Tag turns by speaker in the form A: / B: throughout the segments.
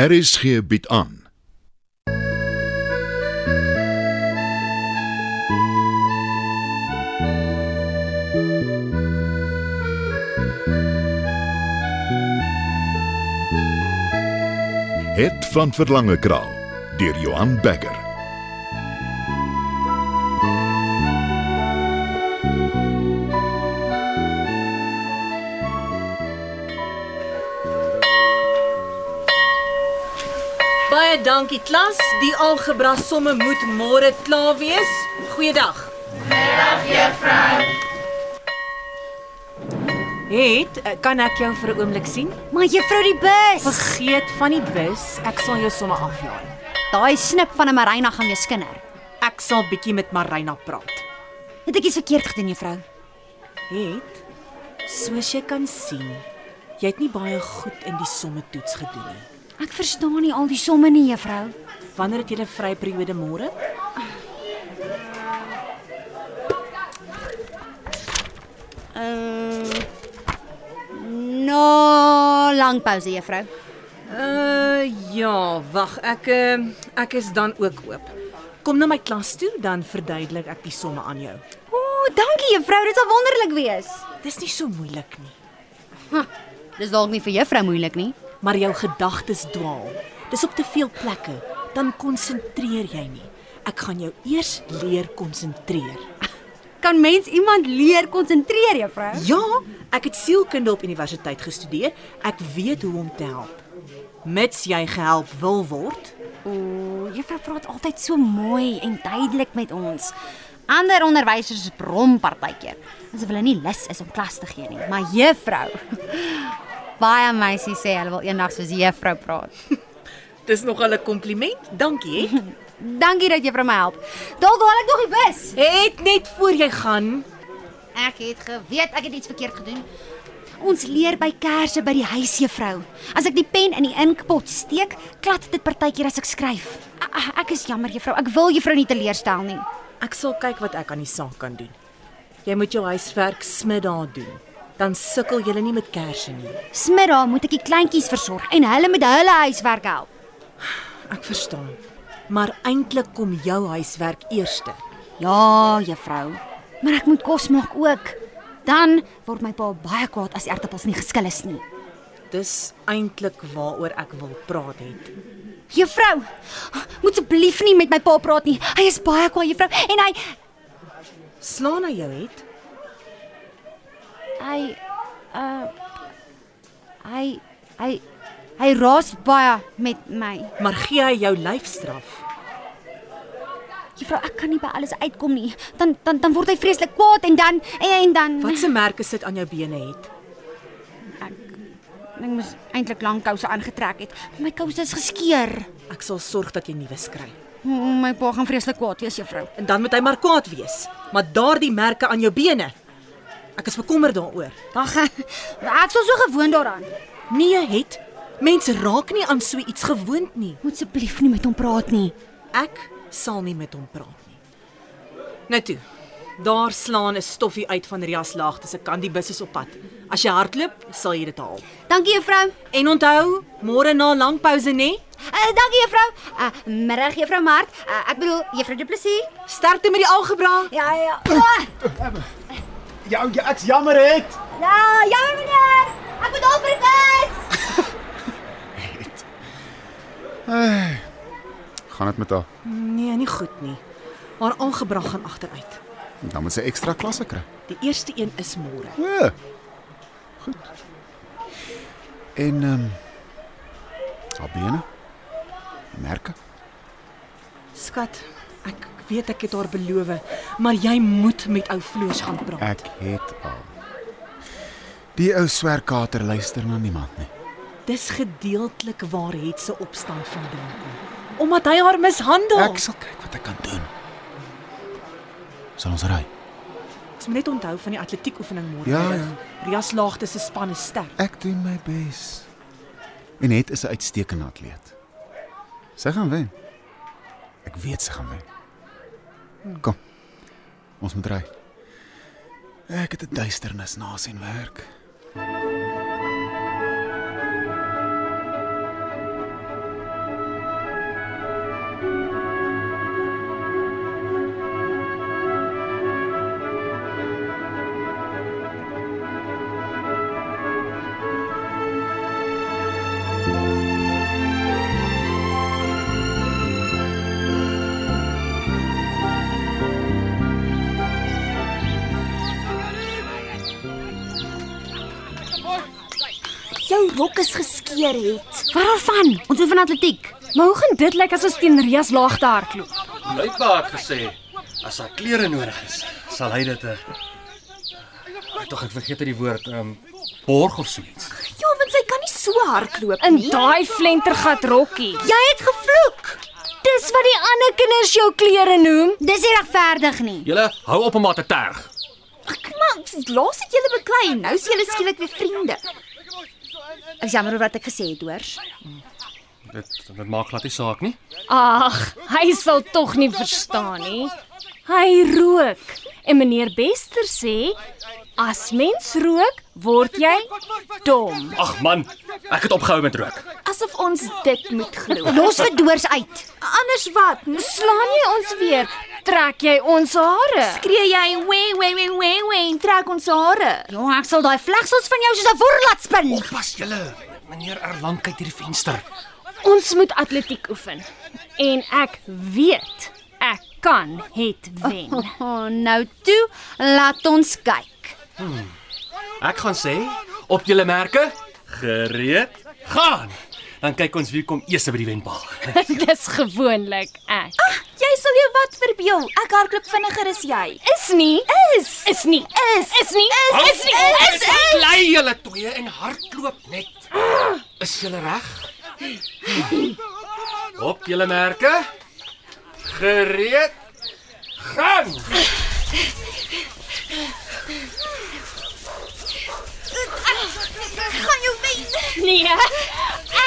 A: RSG bied aan. Het van Verlange Kraal deur Johan Becker.
B: Baie dankie klas. Die algebra somme moet môre klaar wees. Goeiedag. Middag juffrou. Het eh, kan ek jou vir 'n oomblik sien?
C: Maar juffrou die bus.
B: Vergeet van die bus. Ek sal jou somme aflaai.
C: Daai snip van 'n Marina gaan weer skinder.
B: Ek sal bietjie met Marina praat.
C: Het ek iets verkeerd gedoen juffrou?
B: Het soos jy kan sien, jy het nie baie goed in die somme toets gedoen nie.
C: Ek verstaan nie al die somme nie juffrou.
B: Wanneer het jy 'n vrye periode môre?
C: Uh No, lang pouse juffrou.
B: Uh ja, wag, ek ehm, ek is dan ook oop. Kom na my klas toe, dan verduidelik ek die somme aan jou.
C: Ooh, dankie juffrou, dit sal wonderlik wees.
B: Dis nie so moeilik nie,
C: Hm, dis dalk nie vir juffrou moeilik nie.
B: maar jou gedagtes dwaal. Dis op te veel plekke, dan konsentreer jy nie. Ek gaan jou eers leer konsentreer.
C: Kan mens iemand leer konsentreer juffrou?
B: Ja, ek het sielkunde op universiteit gestudeer. Ek weet hoe om te help. Mits jy gehelp wil word.
C: Ooh, juffrou praat altyd so mooi en duidelik met ons. Ander onderwysers is brom partykeer. Asof hulle nie lus is om klas te gee nie, maar juffrou. Baie meisies sê hulle wil eendag soos juffrou praat.
B: Dis nog 'n kompliment. Dankie, hè.
C: Dankie dat juffrou my help. Dalk haal ek nog die bus.
B: Het net voor jy gaan.
C: Ek het geweet ek het iets verkeerd gedoen. Ons leer by kersse by die huis juffrou. As ek die pen in die inkpot steek, klad dit partykeer as ek skryf. A- Ek is jammer juffrou, ek wil juffrou nie teleurstel nie.
B: Ek sal kyk wat ek aan die saak kan doen. Jy moet jou huiswerk smiddag doen. Dan sukkel jy nie met kersse nie.
C: Smiddag moet ek die kleintjies versorg en hulle met hulle huiswerk help.
B: Ek verstaan. Maar eintlik kom jou huiswerk eerste.
C: Ja, juffrou. Maar ek moet kos maak ook. Dan word my pa baie kwaad as die aartappels nie geskil is nie.
B: Dis eintlik waaroor ek wil praat het.
C: Juffrou, moet asseblief nie met my pa praat nie. Hy is baie kwaai, juffrou, en hy
B: Slaan na jou het.
C: hy uh hy hy hy raas baie met my.
B: Maar gee hy jou lyfstraf.
C: Juffrou, ek kan nie by alles uitkom nie. Dan dan dan word hy vreeslik kwaad en dan en, en dan
B: Wat se merke sit aan jou bene het?
C: ek moes eintlik lank kouse aangetrek het. My kouse is geskeur.
B: Ek sal sorg dat jy nuwe kry.
C: Mm, My pa gaan vreeslik kwaad wees, juffrou.
B: En dan moet hy maar kwaad wees. Maar daardie merke aan jou bene. Ek is bekommerd daaroor.
C: Wag. Ek sou so gewoond daaraan.
B: Nee, het. Mense raak nie aan so iets gewoond nie.
C: Moet asseblief nie met hom praat nie.
B: Ek sal nie met hom praat nie. Nou toe. Daar slaan 'n stoffie uit van Rias laagte se kant. Die bus is op pad. As jy hardloop, sal jy dit haal.
C: Dankie juffrou.
B: En onthou, môre na langpouse nê,
C: Uh, dankie juffrou. Uh, middag juffrou Mart. Uh, ek bedoel juffrou Du Plessis.
B: sterkte met die algebra.
C: Ja ja. Oh,
D: Ja, ja ek's jammer het.
C: ja, jammer meneer. Ek moet al vir die bus.
D: Gaan dit met haar?
B: Nee, nie goed nie. Haar algebra gaan agteruit.
D: Dan moet sy ekstra klasse kry.
B: Die eerste een is môre.
D: O. Goed. En ehm um, haar bene? Die Merke?
B: Skat, ek weet ek het haar beloof, maar jy moet met ou Floors gaan praat.
D: Ek het al. Die ou swerkater luister na niemand nie.
B: Dis gedeeltelik waar het se opstand vandaan kom. Omdat hy haar mishandel.
D: Ek sal kyk wat ek kan doen. Sal ons ry?
B: Ons moet net onthou van die atletiekoefening môre.
D: Ja,
B: middag.
D: ja.
B: Rias Laagte se span is sterk.
D: Ek doen my bes. En het is 'n uitstekende atleet. Sy gaan wen. Ek weet sy gaan wen. Kom. Ons moet ry. Ek het 'n duisternis na sien werk.
E: wokkies geskeur het.
C: Waarvan? Ons oefen atletiek.
F: Maar hoe gaan dit lyk as ons teen Rias laagte hardloop?
G: Luitbaak gesê as haar klere nodig is, sal hy dit 'n Tog ek vergeet uit die woord ehm um, borg of so iets.
E: Ja, want sy kan nie so hardloop
F: In
E: nie.
F: daai flentergat rokkie.
E: Jy het gevloek.
F: Dis wat die ander kinders jou klere noem.
C: Dis nie regverdig nie.
G: Julle hou op om haar te terg.
E: Ek Ja. maar laas het julle beklei en nou is julle skielik weer vriende. Ek is jammer oor wat ek gesê het, hoor.
G: Dit dit maak glad nie saak nie.
F: Ag, hy sal tog nie verstaan nie. Hy rook. En meneer Bester sê, as mens rook, word jy dom.
G: Ag man, ek het opgehou met rook.
E: Asof ons dit moet glo.
C: Los verdoors uit.
E: Anders wat?
C: Nou
F: Slaan jy ons weer? Trek jy ons hare?
E: Skree jy wee wee wee wee wee en trek ons hare.
C: Jong, Ja, ek sal daai vlegsels van jou soos 'n voer laat spin.
G: Pas julle, meneer Erlang kyk deur die venster.
F: Ons moet atletiek oefen. En ek weet ek kan het wen.
C: Oh, nou toe, laat ons kyk.
G: Ek gaan sê, op julle merke, gereed, gaan. Dan kyk ons wie kom eers by die wenpaal.
F: Dis gewoonlik ek.
E: Ah, Jy sal jou wat verbeel. Ek hardloop vinniger as jy.
F: Is nie. Is. Is nie. Is. Is nie. Is. Is nie. Is.
G: Lei julle twee en hardloop net. Is julle reg? Op julle merke. Gereed. Gaan.
E: Ek gaan jou wen.
F: Nee.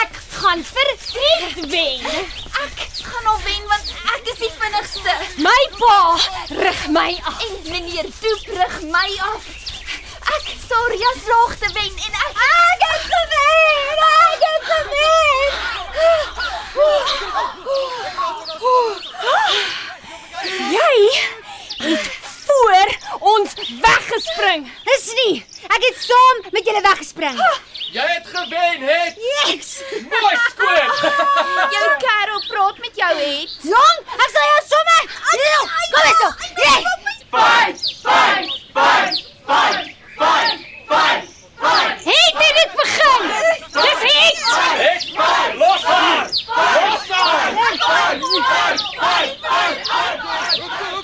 F: Ek gaan verret wen.
E: Ek gaan hom wen want ek is die vinnigste.
F: My pa rig my af.
E: En meneer Toep rig my af. Ek sou Ria se laagte wen en ek Ek het gewen. Ek het gewen.
F: Jy het voor ons weggespring.
C: Dis nie. Ek het saam met julle weggespring.
G: Jy het gewen, het.
C: Yes.
G: Mooi skoon.
E: Jou kerel praat met jou het.
C: Jong, ek sal jou sommer. Deel. Kom eens op. Yes.
F: Het dit dit begin? Dis het.
G: Los haar. Los haar.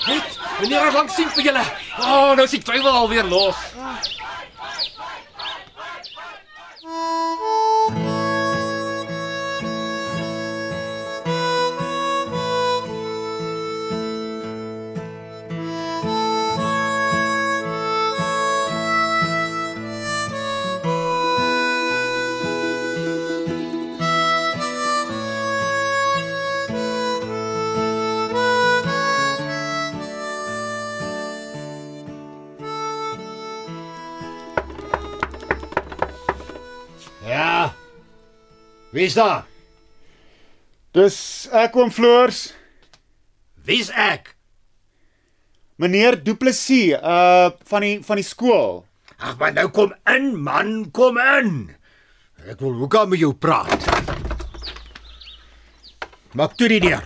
G: Net, meneer Erlang sien vir julle. O, oh, nou sien duiwel alweer los.
H: Ja. Wie's daar?
D: Dis ek oom eh, Floors,
H: Wie's ek?
D: meneer Du Plessis, uh van die van die skool.
H: Ag man, nou kom in man, kom in. Ek wil hoekom met jou praat. Maak toe die deur.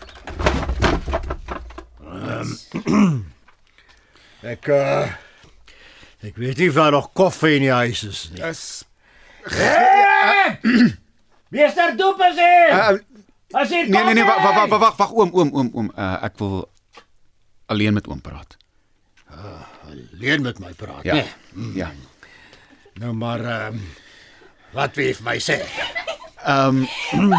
H: Ehm, ek uh, ek weet nie of daar nog koffie in die huis is nie.
D: Is
H: Meester Doepers hier.
D: uh,
H: As jy
D: nee nee nee, wag wag wag wag wag oom oom oom oom, uh, ek wil alleen met oom praat.
H: Leen Ah, met my praat,
D: Ja.
H: ja.
D: Nee.
H: nee.
D: Ja.
H: Nou maar ehm um, wat wil jy vir my sê?
D: Ehm um,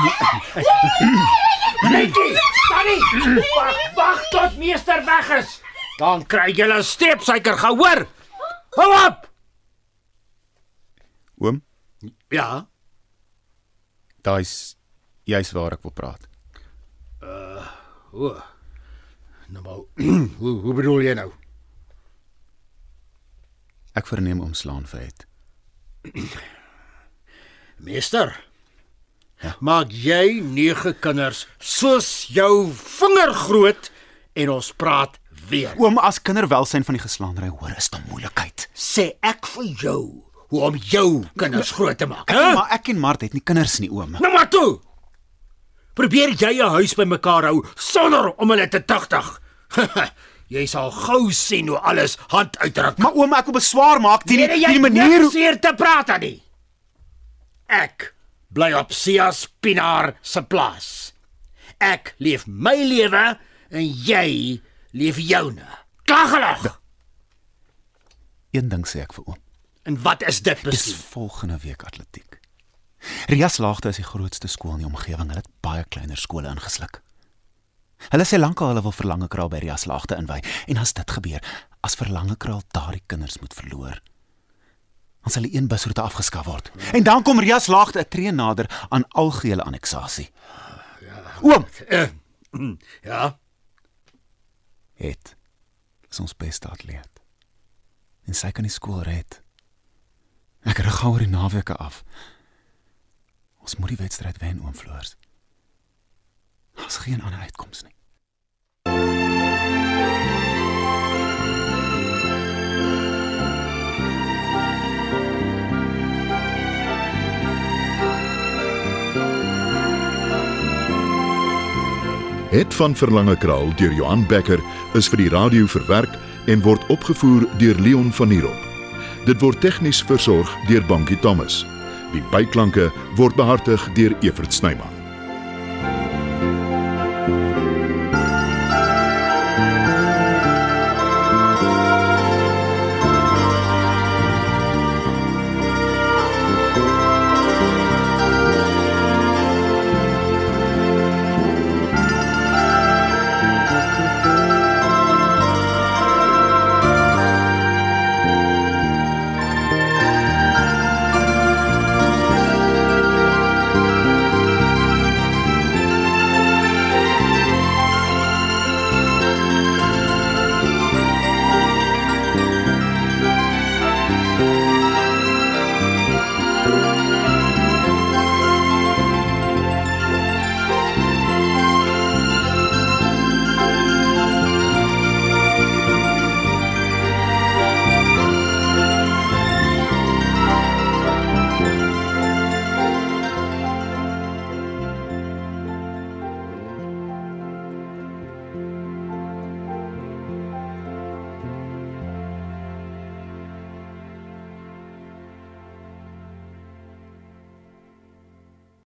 H: Netjie, tannie, wag, wag tot meester weg is. Dan kry jy 'n streepsuiker gehoor. Hou op.
D: oom,
H: Ja,
D: daai's juis waar ek wil praat.
H: nou maar hoe hoe bedoel jy nou?
D: Ek verneem oom slaan vir het.
H: Meester. Ja. Maak jy nege kinders soos jou vinger groot en ons praat weer.
D: Oom, as kinderwelsyn van die geslaanry hoor, is dit 'n moeilikheid.
H: Sê ek vir jou hoe om jou kinders groot te maak.
D: Huh?
H: hè?
D: Maar ek en Mart het nie kinders nie, oom.
H: Nou maar toe. Probeer jy 'n huis bymekaar hou sonder om hulle te tugtig. jy sal gou sien hoe alles hand uitdruk.
D: Maar oom, ek wil beswaar maak teen die,
H: Nee, nee,
D: die
H: jy
D: manier
H: hoe seer te praat aan nie. Ek bly op Sia Spinaar se plaas. Ek leef my lewe en jy leef joune. Klagelig.
D: Een ding sê ek vir oom.
H: En wat is dit
D: Dis
H: presies?
D: volgende week atletiek. Rias Laagte is die grootste skool in die omgewing. Hulle het baie kleiner skole ingesluk. Hulle sê lankal hulle wil verlange kraal by Rias Laagte inwy en as dit gebeur, as verlange kraal daardie kinders moet verloor, dan sal die een busroete afgeskaf word. En dan kom Rias Laagte 'n tree nader aan algehele anneksasie. Oom,
H: Ja,
D: het is ons beste atleet. En sy kan die skool red. Ek rig gou oor die naweke af. Ons moet die wedstryd wen oom Floors. Daar's geen ander uitkoms nie.
A: Het van Verlange Kraal deur Johan Becker is vir die radio verwerk en word opgevoer deur Leon Van Heerop. Dit word tegnies versorg deur Bankie Thomas. Die byklanke word behartig deur Evert Snyman.